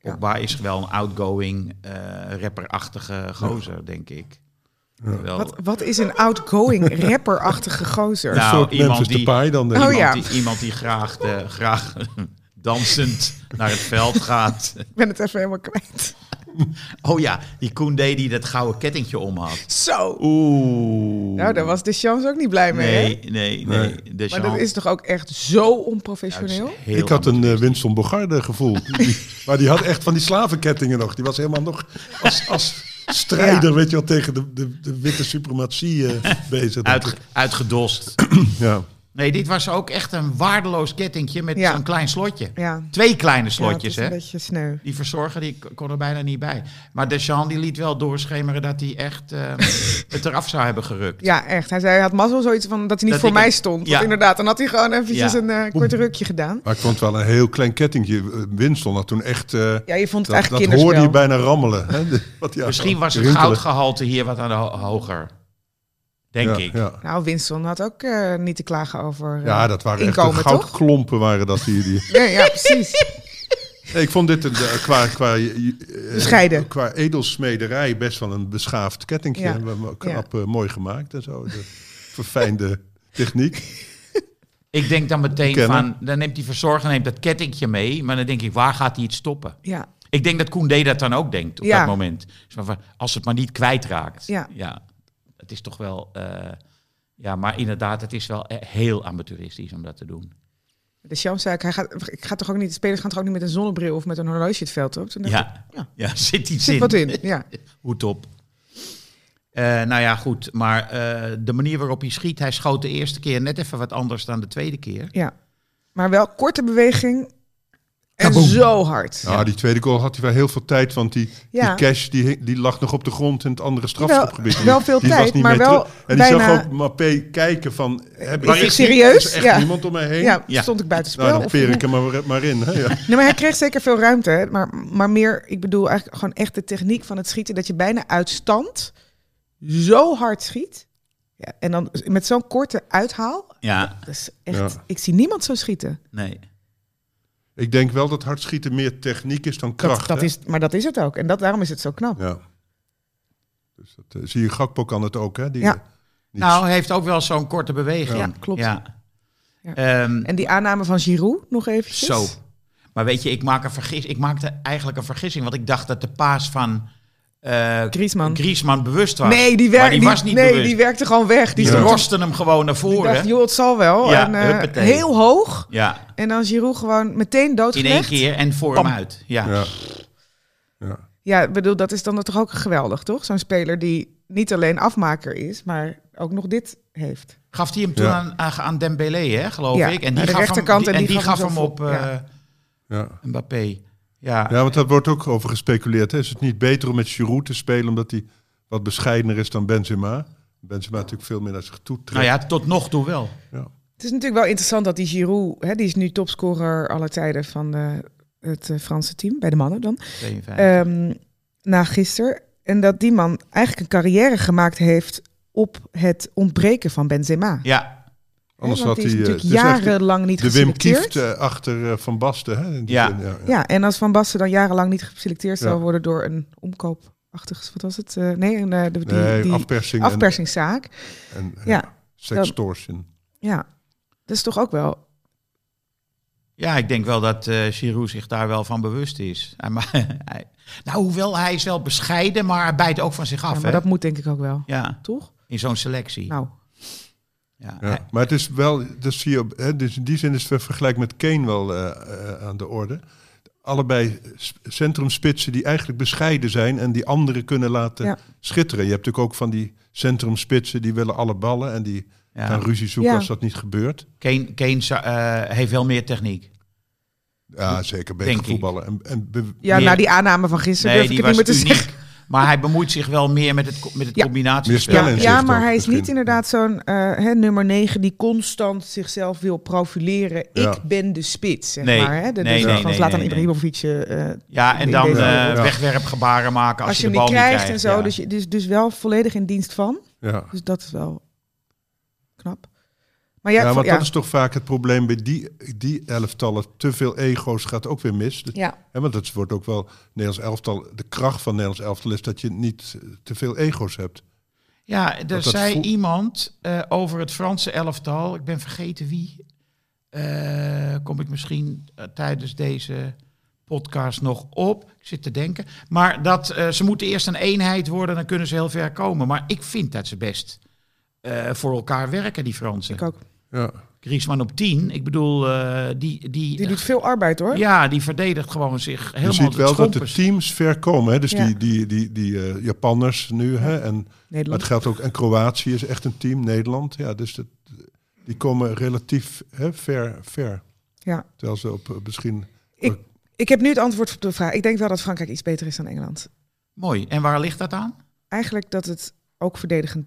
Speaker 1: Pogba is wel een outgoing, eh, rapperachtige gozer, denk ik. Wel-
Speaker 2: Wat, wat is een outgoing rapperachtige gozer?
Speaker 1: Nou,
Speaker 3: een soort
Speaker 1: iemand
Speaker 3: Memphis
Speaker 1: die-
Speaker 3: Depay dan. denk
Speaker 2: Oh
Speaker 3: ik.
Speaker 2: ja.
Speaker 1: iemand, die, iemand die graag, eh, graag dansend naar het veld gaat.
Speaker 2: Ik ben het even helemaal kwijt.
Speaker 1: Oh ja, die Koendé die dat gouden kettingje om had.
Speaker 2: Zo.
Speaker 1: Oeh.
Speaker 2: Nou, daar was de chance ook niet blij mee. hè?
Speaker 1: Nee, nee, nee. De
Speaker 2: Maar dat is toch ook echt zo onprofessioneel?
Speaker 3: Ik had een eh, Winston Bogarde gevoel. Die- maar die had echt van die slavenkettingen nog. Die was helemaal nog als, als strijder, weet je wel, tegen de, de, de witte suprematie eh, bezig.
Speaker 1: Uit, uitgedost.
Speaker 3: Ja.
Speaker 1: Nee, dit was ook echt een waardeloos kettingje met
Speaker 2: Ja.
Speaker 1: zo'n klein slotje.
Speaker 2: Ja.
Speaker 1: Twee kleine
Speaker 2: Ja, het
Speaker 1: slotjes,
Speaker 2: is een
Speaker 1: hè.
Speaker 2: beetje sneu.
Speaker 1: Die verzorger die k- kon er bijna niet bij. Maar Deschamps die liet wel doorschemeren dat hij echt eh, het eraf zou hebben gerukt.
Speaker 2: Ja, echt. Hij zei, hij had mazzel zoiets van dat hij niet
Speaker 1: Dat
Speaker 2: voor
Speaker 1: ik-
Speaker 2: mij stond.
Speaker 1: ja.
Speaker 2: Want inderdaad, dan had hij gewoon eventjes
Speaker 1: Ja.
Speaker 2: een eh, kort rukje gedaan.
Speaker 3: Maar ik vond het wel een heel klein kettingje. Eh, Winston had toen echt... eh,
Speaker 2: Ja, je vond het
Speaker 3: dat
Speaker 2: eigenlijk
Speaker 3: dat hoorde je
Speaker 2: kinderspel.
Speaker 3: bijna rammelen. Hè? De- wat hij
Speaker 1: Misschien
Speaker 3: had-
Speaker 1: was het
Speaker 3: rinkelen.
Speaker 1: goudgehalte hier wat aan de ho- hoger. Denk
Speaker 3: Ja,
Speaker 1: ik.
Speaker 3: Ja.
Speaker 2: Nou, Winston had ook eh, niet te klagen over eh,
Speaker 3: Ja, dat waren echt de
Speaker 2: inkomen, toch?
Speaker 3: goudklompen waren dat hier. Die.
Speaker 2: Nee, ja, precies.
Speaker 3: Nee, ik vond dit een, eh, qua, qua, eh,
Speaker 2: Bescheiden.
Speaker 3: qua edelsmederij best wel een beschaafd kettingje.
Speaker 2: Ja.
Speaker 3: We- Knap eh, mooi gemaakt en zo. De verfijnde techniek.
Speaker 1: Ik denk dan meteen
Speaker 3: Kennen.
Speaker 1: van, dan neemt die verzorger neemt dat kettingje mee. Maar dan denk ik, waar gaat hij het stoppen?
Speaker 2: Ja,
Speaker 1: Ik denk dat Koendé dat dan ook denkt op
Speaker 2: Ja.
Speaker 1: dat moment. Zo van, als het maar niet kwijtraakt.
Speaker 2: Ja.
Speaker 1: ja. Het is toch wel... eh, ja, maar inderdaad, het is wel eh, heel amateuristisch om dat te doen.
Speaker 2: de chance zei ik, hij gaat, ik ga toch ook niet, de spelers gaan toch ook niet met een zonnebril of met een horloge het veld op? Toen dacht ik,
Speaker 1: Ja, ja.
Speaker 2: ja.
Speaker 1: zit iets
Speaker 2: zit
Speaker 1: in.
Speaker 2: wat in. Ja.
Speaker 1: Hoed op. Eh, nou ja, goed. Maar eh, de manier waarop hij schiet, hij schoot de eerste keer net even wat anders dan de tweede keer.
Speaker 2: ja. Maar wel korte beweging en
Speaker 3: Kaboom.
Speaker 2: zo hard.
Speaker 3: Nou, die tweede goal had hij wel heel veel tijd, want die,
Speaker 2: Ja.
Speaker 3: die cash die, die lag nog op de grond in het andere strafschopgebied.
Speaker 2: Wel- wel veel
Speaker 3: die
Speaker 2: tijd, maar
Speaker 3: meer
Speaker 2: wel
Speaker 3: terug. En die
Speaker 2: bijna-
Speaker 3: zag ook Mappé kijken van... eh, Heb
Speaker 2: Is
Speaker 3: ik-
Speaker 2: dit serieus?
Speaker 3: Is echt
Speaker 2: Ja.
Speaker 3: niemand om mij heen?
Speaker 2: Ja,
Speaker 1: Ja.
Speaker 2: stond ik buitenspel.
Speaker 3: Nou, dan
Speaker 2: of-
Speaker 3: peer ik hem maar, maar in. Hè? Ja.
Speaker 2: Nee, maar hij kreeg zeker veel ruimte. hè. Maar, maar meer, ik bedoel eigenlijk gewoon echt de techniek van het schieten. Dat je bijna uit stand zo hard schiet. Ja, en dan met zo'n korte uithaal.
Speaker 1: Ja,
Speaker 2: Dat is echt,
Speaker 3: Ja.
Speaker 2: Ik zie niemand zo schieten.
Speaker 1: nee.
Speaker 3: Ik denk wel dat hardschieten meer techniek is dan kracht.
Speaker 2: Dat, dat
Speaker 3: hè?
Speaker 2: is, maar dat is het ook. En dat, daarom is het zo knap.
Speaker 3: Ja. Dus dat, eh, zie je, Gakpo kan het ook, hè? Die,
Speaker 2: Ja.
Speaker 3: Niet.
Speaker 1: Nou, hij heeft ook wel zo'n korte beweging.
Speaker 2: Ja, klopt.
Speaker 1: Ja.
Speaker 2: Ja.
Speaker 1: Ehm,
Speaker 2: En die aanname van Giroud nog eventjes.
Speaker 1: Zo. Maar weet je, ik, maak een vergis, ik maakte eigenlijk een vergissing. Want ik dacht dat de paas van eh
Speaker 2: Griezmann.
Speaker 1: Griezmann bewust was.
Speaker 2: Nee, die,
Speaker 1: maar
Speaker 2: werk,
Speaker 1: die, was niet
Speaker 2: nee,
Speaker 1: bewust.
Speaker 2: die werkte gewoon weg.
Speaker 1: Die
Speaker 2: Die
Speaker 3: Ja.
Speaker 2: stond-
Speaker 1: rosten hem gewoon naar
Speaker 2: die
Speaker 1: voren.
Speaker 2: dacht, joh, het zal wel.
Speaker 1: Ja,
Speaker 2: en, eh,
Speaker 1: huppatee.
Speaker 2: heel hoog.
Speaker 1: ja,
Speaker 2: En dan Giroud gewoon meteen
Speaker 1: in één
Speaker 2: doodgelegd.
Speaker 1: keer en voor
Speaker 2: Pam.
Speaker 1: hem uit. Ja.
Speaker 3: Ja. Ja.
Speaker 2: Ja, ik bedoel, dat is dan toch ook geweldig, toch? Zo'n speler die niet alleen afmaker is, maar ook nog dit heeft.
Speaker 1: Gaf hij hem toen
Speaker 3: Ja.
Speaker 1: aan, aan- aan Dembélé, hè, geloof
Speaker 2: Ja,
Speaker 1: ik.
Speaker 2: aan de
Speaker 1: gaf
Speaker 2: rechterkant
Speaker 1: hem,
Speaker 2: en
Speaker 1: en
Speaker 2: die
Speaker 1: die
Speaker 2: gaf
Speaker 1: gaf
Speaker 2: hem
Speaker 1: hem
Speaker 2: zo
Speaker 1: op
Speaker 2: vol.
Speaker 1: eh
Speaker 2: Ja.
Speaker 3: Ja.
Speaker 1: Mbappé. Ja.
Speaker 3: ja, want daar wordt ook over gespeculeerd. Hè. Is het niet beter om met Giroud te spelen omdat hij wat bescheidener is dan Benzema? Benzema natuurlijk veel meer naar zich toe trekt.
Speaker 1: Nou ja, tot nog toe wel.
Speaker 2: Het is natuurlijk wel interessant dat die Giroud, hè, die is nu topscorer alle tijden van de, het eh, Franse team, bij de mannen dan,
Speaker 1: 52.
Speaker 2: ehm, na gisteren. En dat die man eigenlijk een carrière gemaakt heeft op het ontbreken van Benzema. Hè,
Speaker 1: ja,
Speaker 3: Anders
Speaker 2: want
Speaker 3: had
Speaker 2: die
Speaker 3: hij
Speaker 2: is
Speaker 3: eh,
Speaker 2: natuurlijk
Speaker 3: het is echt
Speaker 2: jarenlang niet
Speaker 3: de Wim
Speaker 2: geselecteerd.
Speaker 3: Kieft eh, achter eh, Van Basten. Hè, in die
Speaker 1: Ja.
Speaker 3: zin, ja, ja.
Speaker 2: Ja, en als Van Basten dan jarenlang niet geselecteerd zou
Speaker 3: Ja.
Speaker 2: worden door een omkoopachtig, wat was het? Eh, nee, een, eh, de, die,
Speaker 3: Nee,
Speaker 2: die
Speaker 3: afpersing, en-
Speaker 2: afpersingszaak.
Speaker 3: en, eh,
Speaker 2: Ja.
Speaker 3: sextortion.
Speaker 2: Ja, dat is toch ook wel.
Speaker 1: Ja, ik denk wel dat eh Giroud zich daar wel van bewust is. Hij ma- hij- nou, hoewel hij is wel bescheiden, maar hij bijt ook van zich af.
Speaker 2: ja,
Speaker 1: hè?
Speaker 2: maar dat moet denk ik ook wel,
Speaker 1: Ja,
Speaker 2: toch?
Speaker 1: in zo'n selectie.
Speaker 2: Nou,
Speaker 1: ja.
Speaker 3: Ja.
Speaker 1: Hij-
Speaker 3: Maar het is wel, dat zie je, op- hè, dus in die zin is het vergelijk met Kane wel eh, eh, aan de orde. Allebei s- centrumspitsen die eigenlijk bescheiden zijn en die anderen kunnen laten
Speaker 2: Ja.
Speaker 3: schitteren. Je hebt natuurlijk ook van die centrumspitsen die willen alle ballen en die gaan
Speaker 1: ja.
Speaker 3: ruzie zoeken
Speaker 2: Ja.
Speaker 3: als dat niet gebeurt.
Speaker 1: Kane, Kane zou- eh, heeft wel meer techniek.
Speaker 3: Ja, zeker beter
Speaker 1: Denk ik.
Speaker 3: voetballen. En, en be-
Speaker 2: ja,
Speaker 1: Nee.
Speaker 2: nou die aanname van gisteren durf ik het niet meer te zeggen.
Speaker 1: Maar hij bemoeit zich wel meer met het, co- met het
Speaker 2: Ja.
Speaker 1: combinatiespel.
Speaker 3: Meer
Speaker 2: Ja,
Speaker 1: Ja.
Speaker 3: spel in.
Speaker 2: ja,
Speaker 3: inzicht
Speaker 2: maar
Speaker 3: ook
Speaker 2: hij is niet
Speaker 3: misschien.
Speaker 2: inderdaad zo'n eh, hè, nummer 9 die constant zichzelf wil profileren.
Speaker 3: Ja.
Speaker 2: Ik ben de spits, zeg
Speaker 1: Nee.
Speaker 2: maar. Hè? De,
Speaker 1: Nee,
Speaker 2: de-
Speaker 1: nee,
Speaker 2: van
Speaker 1: nee,
Speaker 2: Zlatan
Speaker 1: nee,
Speaker 2: Ibrahimovic. eh, als,
Speaker 1: en dan
Speaker 2: Ja.
Speaker 1: eh,
Speaker 3: Ja.
Speaker 1: wegwerpgebaren maken als,
Speaker 2: je
Speaker 1: je
Speaker 2: hem
Speaker 1: de bal
Speaker 2: niet krijgt, en zo.
Speaker 1: ja.
Speaker 2: Dus, je- dus, dus wel volledig in dienst van.
Speaker 3: ja.
Speaker 2: Dus dat is wel knap. Maar
Speaker 3: Ja,
Speaker 2: ja,
Speaker 3: want
Speaker 2: ja,
Speaker 3: dat is toch vaak het probleem bij die, die elftallen. Te veel ego's gaat ook weer mis. Dat-
Speaker 2: ja.
Speaker 3: hè, want dat wordt ook wel Nederlands elftal. De kracht van Nederlands elftal is dat je niet eh, te veel ego's hebt.
Speaker 1: Ja, er
Speaker 3: dat
Speaker 1: zei
Speaker 3: voel-
Speaker 1: iemand eh, over het Franse elftal, ik ben vergeten wie, eh, kom ik misschien eh, tijdens deze podcast nog op. Ik zit te denken. Maar dat eh, ze moeten eerst een eenheid worden, dan kunnen ze heel ver komen. Maar ik vind dat ze best eh, voor elkaar werken, die Fransen.
Speaker 2: ik ook.
Speaker 3: Ja.
Speaker 1: Griezmann op 10, ik bedoel, eh, die... die,
Speaker 2: Die doet veel arbeid, hoor.
Speaker 1: ja, die verdedigt gewoon zich helemaal
Speaker 3: je ziet wel dat de
Speaker 1: schompers.
Speaker 3: teams ver komen. Hè? Dus
Speaker 2: Ja.
Speaker 3: die, die, die, die eh, Japanners nu. Hè? En, maar
Speaker 2: Nederland.
Speaker 3: het geldt ook. En Kroatië is echt een team. Nederland. Ja, dus dat, die komen relatief hè, ver, ver.
Speaker 2: Ja.
Speaker 3: Terwijl ze op eh, misschien.
Speaker 2: Ik heb nu het antwoord op de vraag. Ik denk wel dat Frankrijk iets beter is dan Engeland.
Speaker 1: Mooi. En waar ligt dat aan?
Speaker 2: Eigenlijk dat het ook verdedigend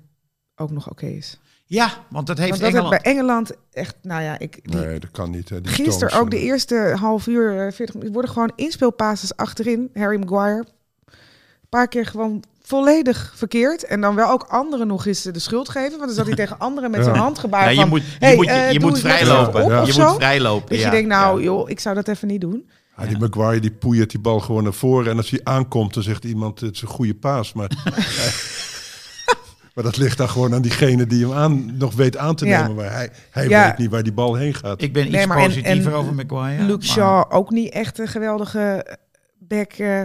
Speaker 2: ook nog oké is.
Speaker 1: Ja, want dat heeft
Speaker 2: Want dat
Speaker 1: Engeland...
Speaker 2: heb bij Engeland echt, nou ja, ik, die-
Speaker 3: Nee, dat kan niet. Hè? Die eh.
Speaker 2: gisteren
Speaker 3: Stones
Speaker 2: ook de
Speaker 3: en-
Speaker 2: eerste half uur, eh, 40 minuten, worden gewoon inspeelpases achterin. Harry Maguire, een paar keer gewoon volledig verkeerd. En dan wel ook anderen nog eens eh, de schuld geven. Want dan zat hij tegen anderen met
Speaker 3: Ja.
Speaker 2: zijn handgebaar
Speaker 1: Ja, je
Speaker 2: van,
Speaker 1: moet, je
Speaker 2: hey,
Speaker 1: moet, je,
Speaker 2: eh,
Speaker 1: je
Speaker 2: doe
Speaker 1: moet
Speaker 2: het net even
Speaker 1: vrijlopen.
Speaker 2: op
Speaker 3: Ja.
Speaker 2: of
Speaker 1: Je
Speaker 2: zo.
Speaker 1: moet vrijlopen.
Speaker 2: Dat
Speaker 1: ja.
Speaker 2: je denkt, nou
Speaker 1: Ja.
Speaker 2: joh, ik zou dat even niet doen.
Speaker 3: Ja, die Maguire die poeiert die bal gewoon naar voren. En als hij aankomt, dan zegt iemand: het is een goede paas. Maar, maar dat ligt dan gewoon aan diegene die hem aan, nog weet aan te
Speaker 2: Ja.
Speaker 3: nemen. Maar hij, hij
Speaker 2: Ja.
Speaker 3: weet niet waar die bal heen gaat.
Speaker 1: Ik ben
Speaker 2: Nee,
Speaker 1: iets
Speaker 2: maar en-
Speaker 1: positiever
Speaker 2: en
Speaker 1: over Maguire.
Speaker 2: Luke
Speaker 1: maar-
Speaker 2: Shaw ook niet echt een geweldige back, eh,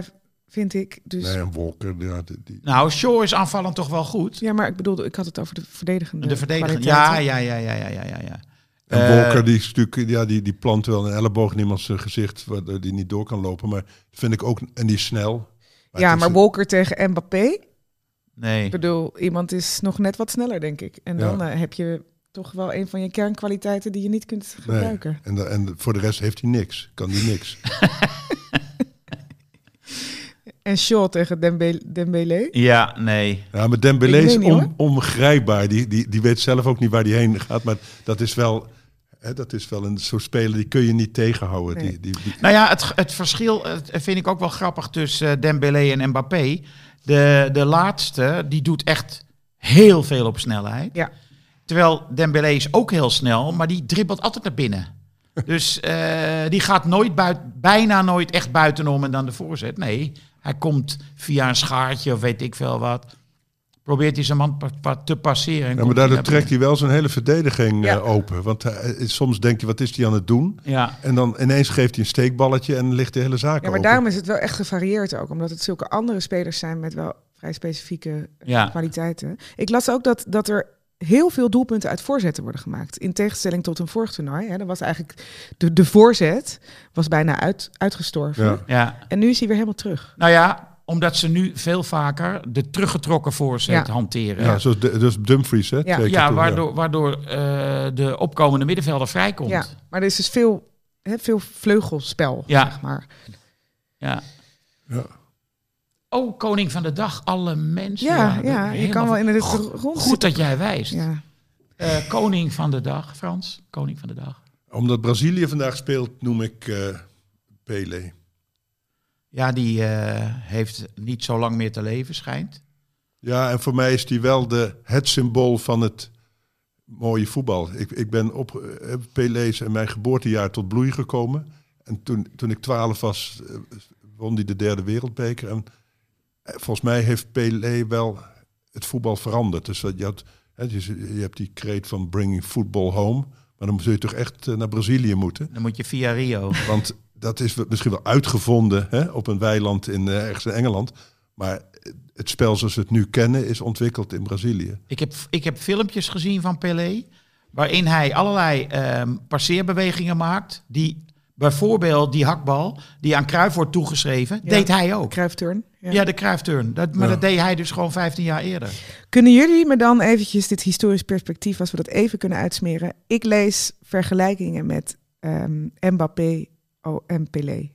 Speaker 2: vind ik. Dus
Speaker 3: Nee, en Walker. Ja, die, die-
Speaker 1: Nou, Shaw is aanvallend toch wel goed.
Speaker 2: Ja, maar ik bedoelde, ik had het over de verdedigende.
Speaker 1: De verdediger. Ja,
Speaker 2: kwaliteiten.
Speaker 1: ja, ja, ja, ja, ja, ja, ja.
Speaker 3: En
Speaker 1: Eh,
Speaker 3: Walker die, is natuurlijk, ja, die, die plant wel een elleboog in iemands eh, gezicht, waardoor die niet door kan lopen. Maar vind ik ook, en die is snel.
Speaker 2: ja,
Speaker 3: het is
Speaker 2: maar
Speaker 3: een-
Speaker 2: Walker tegen Mbappé. Ik
Speaker 1: Nee.
Speaker 2: bedoel, iemand is nog net wat sneller, denk ik. En
Speaker 3: Ja.
Speaker 2: dan eh, heb je toch wel een van je kernkwaliteiten die je niet kunt
Speaker 3: nee.
Speaker 2: gebruiken.
Speaker 3: En, da- en voor de rest heeft hij niks. Kan hij niks.
Speaker 2: En Shaw tegen Dembe- Dembele.
Speaker 1: Ja, nee.
Speaker 3: Ja, maar Dembélé is
Speaker 2: Ik weet niet,
Speaker 3: on- ongrijpbaar. Die, die, die weet zelf ook niet waar die heen gaat. Maar dat is wel, hè, dat is wel een zo'n speler, die kun je niet tegenhouden.
Speaker 2: Nee.
Speaker 3: Die, die, die-
Speaker 1: Nou ja, het, het verschil eh, vind ik ook wel grappig tussen eh, Dembélé en Mbappé. De, de laatste, die doet echt heel veel op snelheid.
Speaker 2: Ja.
Speaker 1: Terwijl Dembélé is ook heel snel, maar die dribbelt altijd naar binnen. Dus eh, die gaat nooit buit, bijna nooit echt buitenom en dan de voorzet. Nee, hij komt via een schaartje of weet ik veel wat. probeert hij zijn man pa- pa- te passeren. En
Speaker 3: Ja,
Speaker 1: komt
Speaker 3: maar daardoor
Speaker 1: naar
Speaker 3: trekt hij wel zijn hele verdediging
Speaker 2: Ja.
Speaker 3: eh, open. Want hij- soms denk je, wat is hij aan het doen?
Speaker 1: binnen. Ja,
Speaker 3: En dan ineens geeft hij een steekballetje en ligt de hele zaak
Speaker 2: Ja, maar
Speaker 3: open.
Speaker 2: daarom is het wel echt gevarieerd ook. Omdat het zulke andere spelers zijn met wel vrij specifieke eh,
Speaker 1: Ja.
Speaker 2: kwaliteiten. Ik las ook dat, dat er heel veel doelpunten uit voorzetten worden gemaakt. In tegenstelling tot een vorig toernooi. Hè. Dat was eigenlijk de, de voorzet was bijna uit, uitgestorven.
Speaker 3: Ja.
Speaker 1: ja.
Speaker 2: En nu is hij weer helemaal terug.
Speaker 1: Nou ja, omdat ze nu veel vaker de teruggetrokken voorzet
Speaker 2: Ja.
Speaker 1: hanteren.
Speaker 3: Ja, zoals de, dus Dumfries, hè?
Speaker 2: Ja.
Speaker 3: twee keer
Speaker 1: Ja,
Speaker 3: toen,
Speaker 1: waardoor, waardoor eh, de opkomende middenvelder vrijkomt.
Speaker 2: Ja, maar er is dus veel, hè, veel vleugelspel,
Speaker 1: Ja.
Speaker 2: zeg maar.
Speaker 1: Ja.
Speaker 3: Ja.
Speaker 1: Oh, koning van de dag, alle mensen.
Speaker 2: Ja, ja,
Speaker 1: Dus dat-
Speaker 2: je
Speaker 1: helemaal
Speaker 2: kan wel in het
Speaker 1: Goed-
Speaker 2: rond
Speaker 1: Goed dat jij wijst.
Speaker 2: Ja.
Speaker 1: Eh, koning van de dag, Frans. Koning van de dag.
Speaker 3: Omdat Brazilië vandaag speelt, noem ik eh Pele.
Speaker 1: Ja, die eh, heeft niet zo lang meer te leven, schijnt.
Speaker 3: Ja, en voor mij is die wel de, het symbool van het mooie voetbal. Ik, ik ben op eh, Pelé is in mijn geboortejaar tot bloei gekomen. En toen, toen ik twaalf was, eh, won hij de derde wereldbeker. En eh, volgens mij heeft Pelé wel het voetbal veranderd. Dus dat je, had, hè, dus je hebt die kreet van bringing football home. Maar dan zul je toch echt eh, naar Brazilië moeten.
Speaker 1: Dan moet je via Rio.
Speaker 3: Want dat is misschien wel uitgevonden hè, op een weiland in, eh, ergens in Engeland. Maar het spel zoals we het nu kennen is ontwikkeld in Brazilië.
Speaker 1: Ik heb, ik heb filmpjes gezien van Pelé. Waarin hij allerlei ehm, passeerbewegingen maakt. Die bijvoorbeeld die hakbal die aan Cruijff wordt toegeschreven.
Speaker 2: Ja.
Speaker 1: Deed hij ook.
Speaker 2: Cruijff-turn. Ja.
Speaker 1: Ja, de Cruijff-turn. Dat, maar
Speaker 3: Ja.
Speaker 1: dat deed hij dus gewoon 15 jaar eerder.
Speaker 2: Kunnen jullie me dan eventjes dit historisch perspectief, als we dat even kunnen uitsmeren? Ik lees vergelijkingen met ehm, Mbappé oh, en Pelé.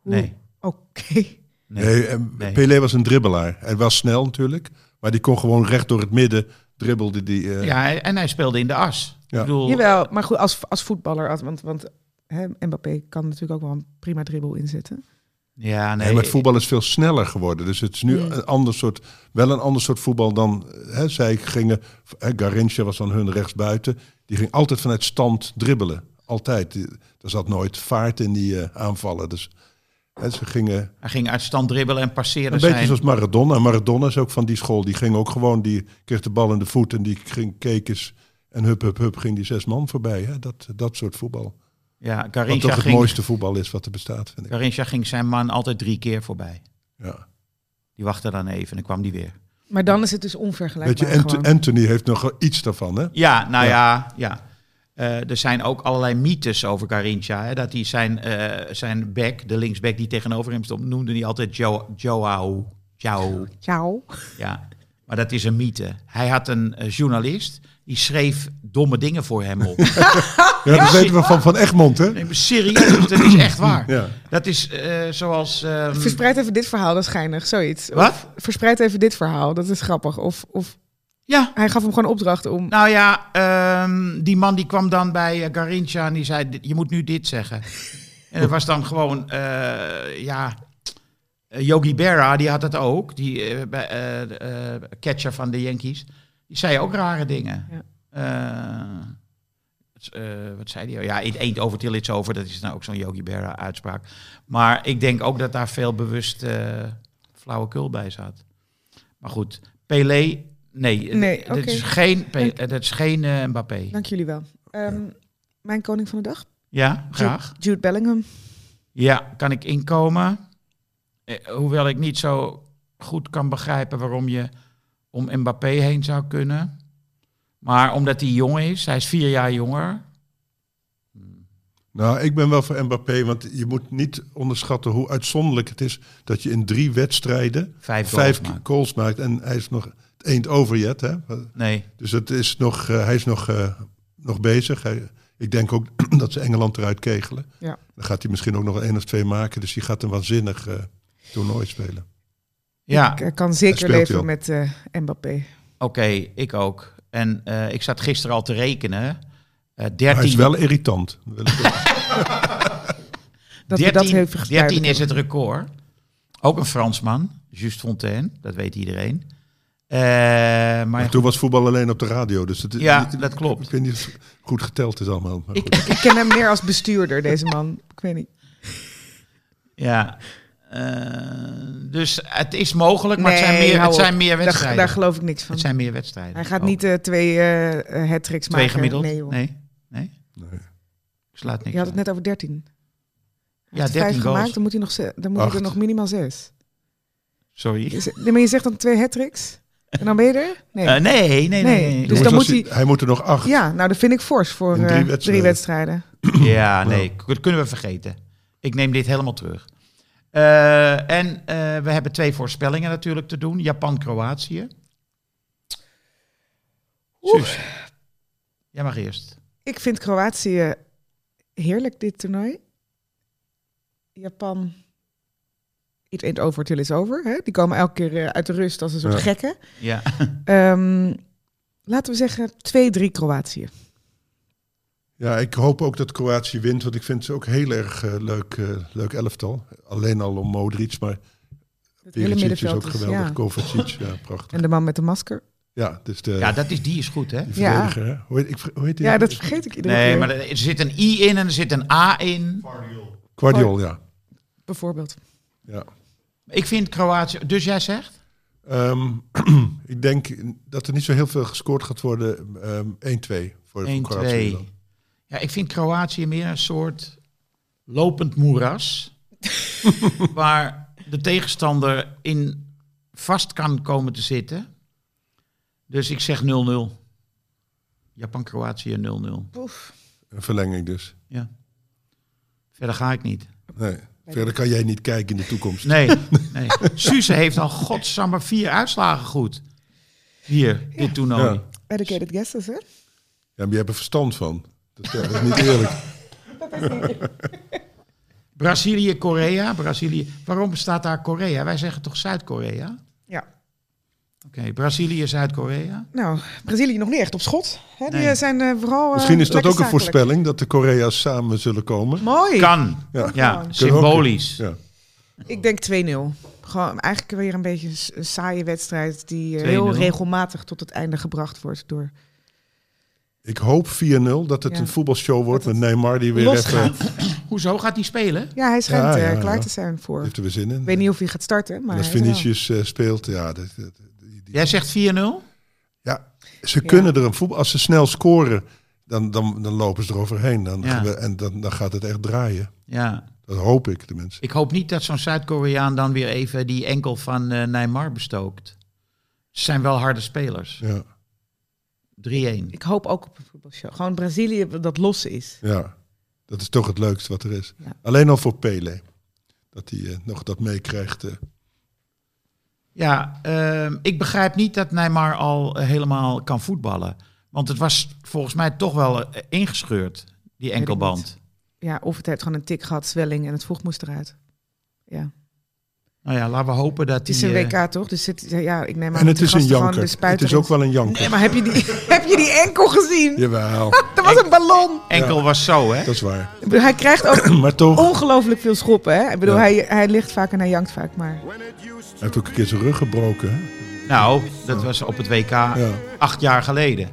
Speaker 2: Hoe-
Speaker 1: Nee.
Speaker 2: Oké.
Speaker 1: Nee.
Speaker 3: Nee, en
Speaker 1: nee.
Speaker 3: Pelé was een dribbelaar. Hij was snel natuurlijk, maar die kon gewoon recht door het midden dribbelde die. eh, ja.
Speaker 1: Ja, hij- en hij speelde in de as.
Speaker 3: Ja.
Speaker 1: Ik bedoel,
Speaker 2: Jawel, maar goed, als, als voetballer, als- want, want hè, Mbappé kan natuurlijk ook wel een prima dribbel inzetten.
Speaker 1: ja, nee.
Speaker 3: maar het voetbal is veel sneller geworden. Dus het is nu
Speaker 5: Mm.
Speaker 3: een ander soort, wel een ander soort voetbal dan eh, hè, zij gingen. Hè, Garrincha was dan hun rechtsbuiten. Die ging altijd vanuit stand dribbelen. Altijd. Die- Er zat nooit vaart in die eh, aanvallen. Dus hè, ze gingen
Speaker 1: Hij ging uit stand dribbelen en passeren
Speaker 3: Een beetje
Speaker 1: zijn.
Speaker 3: zoals Maradona. Maradona is ook van die school. Die ging ook gewoon, die kreeg de bal in de voet en die ging kekens. En hup, hup, hup, ging die zes man voorbij. Hè? Dat, dat soort voetbal.
Speaker 1: Ja,
Speaker 3: Wat toch
Speaker 1: Garincha
Speaker 3: het
Speaker 1: ging,
Speaker 3: mooiste voetbal is wat er bestaat, vind ik.
Speaker 1: Garincha ging zijn man altijd drie keer voorbij.
Speaker 3: Ja.
Speaker 1: Die wachtte dan even en dan kwam die weer.
Speaker 2: Maar dan is het dus
Speaker 3: Weet je,
Speaker 2: onvergelijkbaar.
Speaker 3: Ant-
Speaker 2: gewoon.
Speaker 3: Anthony heeft nog wel iets daarvan, hè?
Speaker 1: Ja, nou ja,
Speaker 3: Ja.
Speaker 1: ja. Eh, er zijn ook allerlei mythes over Garincha. Hè, dat hij zijn, eh zijn back, de linksback die tegenover hem stond, noemde hij altijd Jo- Joao. Joao.
Speaker 2: Ciao.
Speaker 1: Ja, maar dat is een mythe. Hij had een eh, journalist die schreef domme dingen voor hem op.
Speaker 3: Ja, dat weten we van Van Egmond, hè?
Speaker 1: Nee, maar serieus, dat is echt waar.
Speaker 3: Ja.
Speaker 1: Dat is eh, zoals. ehm,
Speaker 2: Verspreid even dit verhaal, dat is geinig, zoiets.
Speaker 1: Wat?
Speaker 2: Verspreid even dit verhaal, dat is grappig. Of, of
Speaker 1: Ja.
Speaker 2: hij gaf hem gewoon opdracht om...
Speaker 1: Nou ja, ehm, die man die kwam dan bij eh, Garincha en die zei: "Dit- Je moet nu dit zeggen. en dat was dan gewoon, eh, ja. eh, Yogi Berra, die had het ook. Die eh, bij, eh, de, eh, catcher van de Yankees. Die zei ook rare dingen.
Speaker 2: Ja.
Speaker 1: Eh, het- eh, wat zei hij? Ja, it ain't over till it's over. Dat is nou ook zo'n Yogi Berra uitspraak. Maar ik denk ook dat daar veel bewust eh, flauwekul bij zat. Maar goed, Pelé, nee.
Speaker 2: Nee,
Speaker 1: dat,
Speaker 2: oké.
Speaker 1: is geen, Pe- eh, dat is geen eh, Mbappé.
Speaker 2: Dank jullie wel. Ehm, Mijn koning van de dag?
Speaker 1: Ja, graag.
Speaker 2: Jude Bellingham.
Speaker 1: Ja, kan ik inkomen. Eh, hoewel ik niet zo goed kan begrijpen waarom je om Mbappé heen zou kunnen. Maar omdat hij jong is, hij is vier jaar jonger.
Speaker 3: Nou, ik ben wel voor Mbappé, want je moet niet onderschatten hoe uitzonderlijk het is dat je in drie wedstrijden
Speaker 1: Vijf, goals
Speaker 3: vijf
Speaker 1: maakt.
Speaker 3: goals maakt. En hij is nog het eend over yet, hè?
Speaker 1: Nee,
Speaker 3: Dus het is nog, eh, hij is nog, eh, nog bezig. Hij, ik denk ook dat ze Engeland eruit kegelen.
Speaker 2: Ja.
Speaker 3: Dan gaat hij misschien ook nog één of twee maken. Dus die gaat een waanzinnig eh, toernooi spelen.
Speaker 1: ja.
Speaker 2: Ik eh, kan
Speaker 3: Hij
Speaker 2: zeker
Speaker 3: speelt
Speaker 2: leven
Speaker 3: wel.
Speaker 2: met eh, Mbappé.
Speaker 1: Oké, ik ook. En eh, ik zat gisteren al te rekenen. Eh
Speaker 3: Maar hij
Speaker 1: 13,
Speaker 3: is wel irritant. Wil ik zeggen.
Speaker 2: Dat we
Speaker 1: 13,
Speaker 2: dat even geduidelijk
Speaker 1: 13 is
Speaker 2: hebben.
Speaker 1: het record. Ook een Fransman, Just Fontaine, dat weet iedereen. Eh, maar
Speaker 3: maar toen was voetbal alleen op de radio. Dus het, is
Speaker 1: Ja,
Speaker 3: niet-
Speaker 1: dat klopt.
Speaker 3: Ik weet niet of het goed geteld is allemaal. Maar
Speaker 1: Ik-
Speaker 3: goed.
Speaker 2: Ik ken hem meer als bestuurder, deze man. Ik weet niet.
Speaker 1: ja, Eh, dus het is mogelijk, maar het zijn
Speaker 2: Nee,
Speaker 1: meer,
Speaker 2: hou
Speaker 1: het
Speaker 2: op.
Speaker 1: zijn meer
Speaker 2: Daar- Daar,
Speaker 1: wedstrijden.
Speaker 2: geloof ik niks van.
Speaker 1: het zijn meer wedstrijden.
Speaker 2: Hij gaat
Speaker 1: Ook.
Speaker 2: niet eh, twee eh hat-tricks
Speaker 1: twee
Speaker 2: maken.
Speaker 1: gemiddeld.
Speaker 2: Nee,
Speaker 1: Nee,
Speaker 2: joh.
Speaker 1: nee,
Speaker 2: dus
Speaker 3: Nee.
Speaker 1: Ik slaat niks.
Speaker 2: Je had het
Speaker 1: uit.
Speaker 2: net over 13. Hij
Speaker 1: Ja,
Speaker 2: heeft
Speaker 1: 13
Speaker 2: vijf
Speaker 1: goals.
Speaker 2: gemaakt, dan moet hij, nog, ze- dan moet hij er
Speaker 3: Acht.
Speaker 2: nog minimaal zes.
Speaker 1: Sorry.
Speaker 2: Is, nee, maar je zegt dan twee hat-tricks? En dan ben je er? Nee.
Speaker 1: Eh, nee, nee, nee.
Speaker 2: Nee,
Speaker 1: nee.
Speaker 2: dus
Speaker 3: Jongens,
Speaker 2: dan
Speaker 3: als
Speaker 2: moet
Speaker 3: hij, hij moet er nog acht.
Speaker 2: ja, nou dat vind ik fors voor
Speaker 3: In drie
Speaker 2: eh, drie,
Speaker 3: wedstrijden.
Speaker 2: wedstrijden.
Speaker 1: Ja, nee, k- dat kunnen we vergeten. Ik neem dit helemaal terug. Eh, en eh, we hebben twee voorspellingen natuurlijk te doen. Japan-Kroatië. Suus, jij mag eerst.
Speaker 2: Ik vind Kroatië heerlijk, dit toernooi. Japan, it ain't over till it's over. Hè? Die komen elke keer eh, uit de rust als een soort
Speaker 3: Ja.
Speaker 2: gekken.
Speaker 1: Ja.
Speaker 2: Ehm, laten we zeggen 2-3 Kroatië.
Speaker 3: Ja, ik hoop ook dat Kroatië wint, want ik vind ze ook heel erg eh, leuk, eh, leuk elftal. Alleen al om Modric, maar
Speaker 2: Het hele
Speaker 3: Perisic is
Speaker 2: middenveld
Speaker 3: ook
Speaker 2: is,
Speaker 3: geweldig.
Speaker 2: ja.
Speaker 3: Kovacic, ja, prachtig.
Speaker 2: En de man met de masker.
Speaker 3: ja, dus de,
Speaker 1: ja, dat is, die is goed, hè?
Speaker 3: die
Speaker 2: Ja.
Speaker 3: verdediger, hè? Hoe heet, ik, ver- hoe heet die?
Speaker 2: Ja, dat vergeet ik iedere
Speaker 1: Nee,
Speaker 2: keer.
Speaker 1: maar er zit een I in en er zit een A in.
Speaker 3: Guardiol, ja.
Speaker 2: Bijvoorbeeld.
Speaker 3: ja.
Speaker 1: Ik vind Kroatië... Dus jij zegt?
Speaker 3: Ehm, ik denk dat er niet zo heel veel gescoord gaat worden. Ehm 1-2 voor
Speaker 1: 1,
Speaker 3: voor Kroatië.
Speaker 1: 2.
Speaker 3: dan.
Speaker 1: Ja, ik vind Kroatië meer een soort lopend moeras. waar de tegenstander in vast kan komen te zitten. Dus ik zeg 0-0. Japan-Kroatië 0-0.
Speaker 2: Poef.
Speaker 3: Een verlenging dus.
Speaker 1: Ja. Verder ga ik niet.
Speaker 3: Nee. Verder kan jij niet kijken in de toekomst.
Speaker 1: Nee, nee. Suze heeft al godsamme vier uitslagen goed. Hier, dit toernooi.
Speaker 3: Ja.
Speaker 2: Educated guesses, hè?
Speaker 3: Ja, maar je hebt er verstand van. Dat, ja, dat is niet eerlijk.
Speaker 2: Oh,
Speaker 1: Brazilië, Korea. Brazilië. Waarom staat daar Korea? Wij zeggen toch Zuid-Korea?
Speaker 2: Ja.
Speaker 1: Oké, Brazilië, Zuid-Korea.
Speaker 2: Nou, Brazilië nog niet echt op schot. Hè? Die
Speaker 1: Nee.
Speaker 2: eh, zijn eh, vooral eh,
Speaker 3: Misschien is dat
Speaker 2: lekker
Speaker 3: ook een
Speaker 2: zakelijk.
Speaker 3: voorspelling dat de Korea's samen zullen komen.
Speaker 2: Mooi.
Speaker 1: Kan.
Speaker 3: Ja.
Speaker 1: Ja,
Speaker 2: Kan.
Speaker 1: symbolisch.
Speaker 3: Ja.
Speaker 2: Ik denk 2-0. Gewoon eigenlijk weer een beetje een s- een saaie wedstrijd die eh,
Speaker 1: 2-0.
Speaker 2: heel regelmatig tot het einde gebracht wordt door
Speaker 3: Ik hoop 4-0 dat het
Speaker 2: Ja.
Speaker 3: een voetbalshow wordt
Speaker 2: Dat
Speaker 3: met Neymar die weer even
Speaker 2: losgaat.
Speaker 1: Hoezo gaat die spelen?
Speaker 2: Ja, hij schijnt
Speaker 3: Ja, ja,
Speaker 2: eh, klaar
Speaker 3: ja.
Speaker 2: te zijn voor.
Speaker 3: heeft er weer zin in.
Speaker 2: Ik weet niet of hij gaat starten,
Speaker 3: en
Speaker 2: maar
Speaker 3: als
Speaker 2: hij is er wel.
Speaker 3: Vinicius eh, speelt, ja, dat- dat- die- die-
Speaker 1: Jij zegt 4-0?
Speaker 3: ja, ze kunnen er een voetbal. Als ze snel scoren, dan, dan, dan lopen ze eroverheen. Dan,
Speaker 1: Ja.
Speaker 3: we- en dan, dan gaat het echt draaien.
Speaker 1: Ja.
Speaker 3: Dat hoop ik tenminste.
Speaker 1: Ik hoop niet dat zo'n Zuid-Koreaan dan weer even die enkel van eh Neymar bestookt. Ze zijn wel harde spelers.
Speaker 3: Ja,
Speaker 1: 3-1.
Speaker 2: Ik hoop ook op een voetbalshow. Gewoon Brazilië dat los is.
Speaker 3: ja. Dat is toch het leukste wat er is.
Speaker 2: Ja.
Speaker 3: Alleen al voor Pele. Dat hij eh, nog dat meekrijgt. eh.
Speaker 1: Ja, ehm, ik begrijp niet dat Neymar al eh, helemaal kan voetballen. Want het was volgens mij toch wel eh, ingescheurd, die
Speaker 2: ik
Speaker 1: enkelband.
Speaker 2: Ja, of het heeft gewoon een tik gehad, zwelling en het vocht moest eruit. Ja.
Speaker 1: Nou ja, laten we hopen dat
Speaker 2: Het is
Speaker 1: die,
Speaker 2: een
Speaker 1: eh,
Speaker 2: WK toch? Dus het, ja, ik neem aan dat
Speaker 3: en het
Speaker 2: die
Speaker 3: is een
Speaker 2: gasten gewoon de
Speaker 3: janker. Het
Speaker 2: spuiten
Speaker 3: is ook
Speaker 2: erin-
Speaker 3: wel een janker.
Speaker 2: Nee, maar heb je die, heb je die enkel gezien?
Speaker 3: Jawel,
Speaker 2: Dat was een ballon.
Speaker 1: enkel was zo, hè?
Speaker 3: dat is waar.
Speaker 2: Ik bedoel, Hij krijgt ook
Speaker 3: Maar toch, hij
Speaker 2: ongelooflijk veel schoppen. Hè? Ik bedoel,
Speaker 3: Ja.
Speaker 2: hij, hij ligt vaak en hij jankt vaak. Maar
Speaker 4: When it used to
Speaker 3: heeft ook een keer zijn rug gebroken. hè?
Speaker 1: Nou, dat was op het WK
Speaker 3: Ja.
Speaker 1: acht jaar geleden.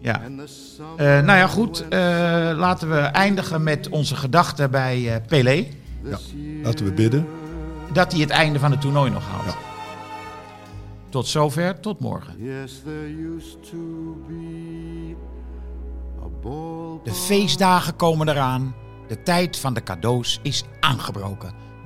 Speaker 1: Ja.
Speaker 4: and the sun
Speaker 1: Eh, nou ja, goed. eh, laten we eindigen met onze gedachten bij eh, Pelé.
Speaker 3: Laten we bidden.
Speaker 1: Dat hij het einde van het toernooi nog haalt.
Speaker 3: Ja.
Speaker 1: Tot zover, tot morgen.
Speaker 4: Yes, there used to be a ball.
Speaker 1: De feestdagen komen eraan. De tijd van de cadeaus is aangebroken.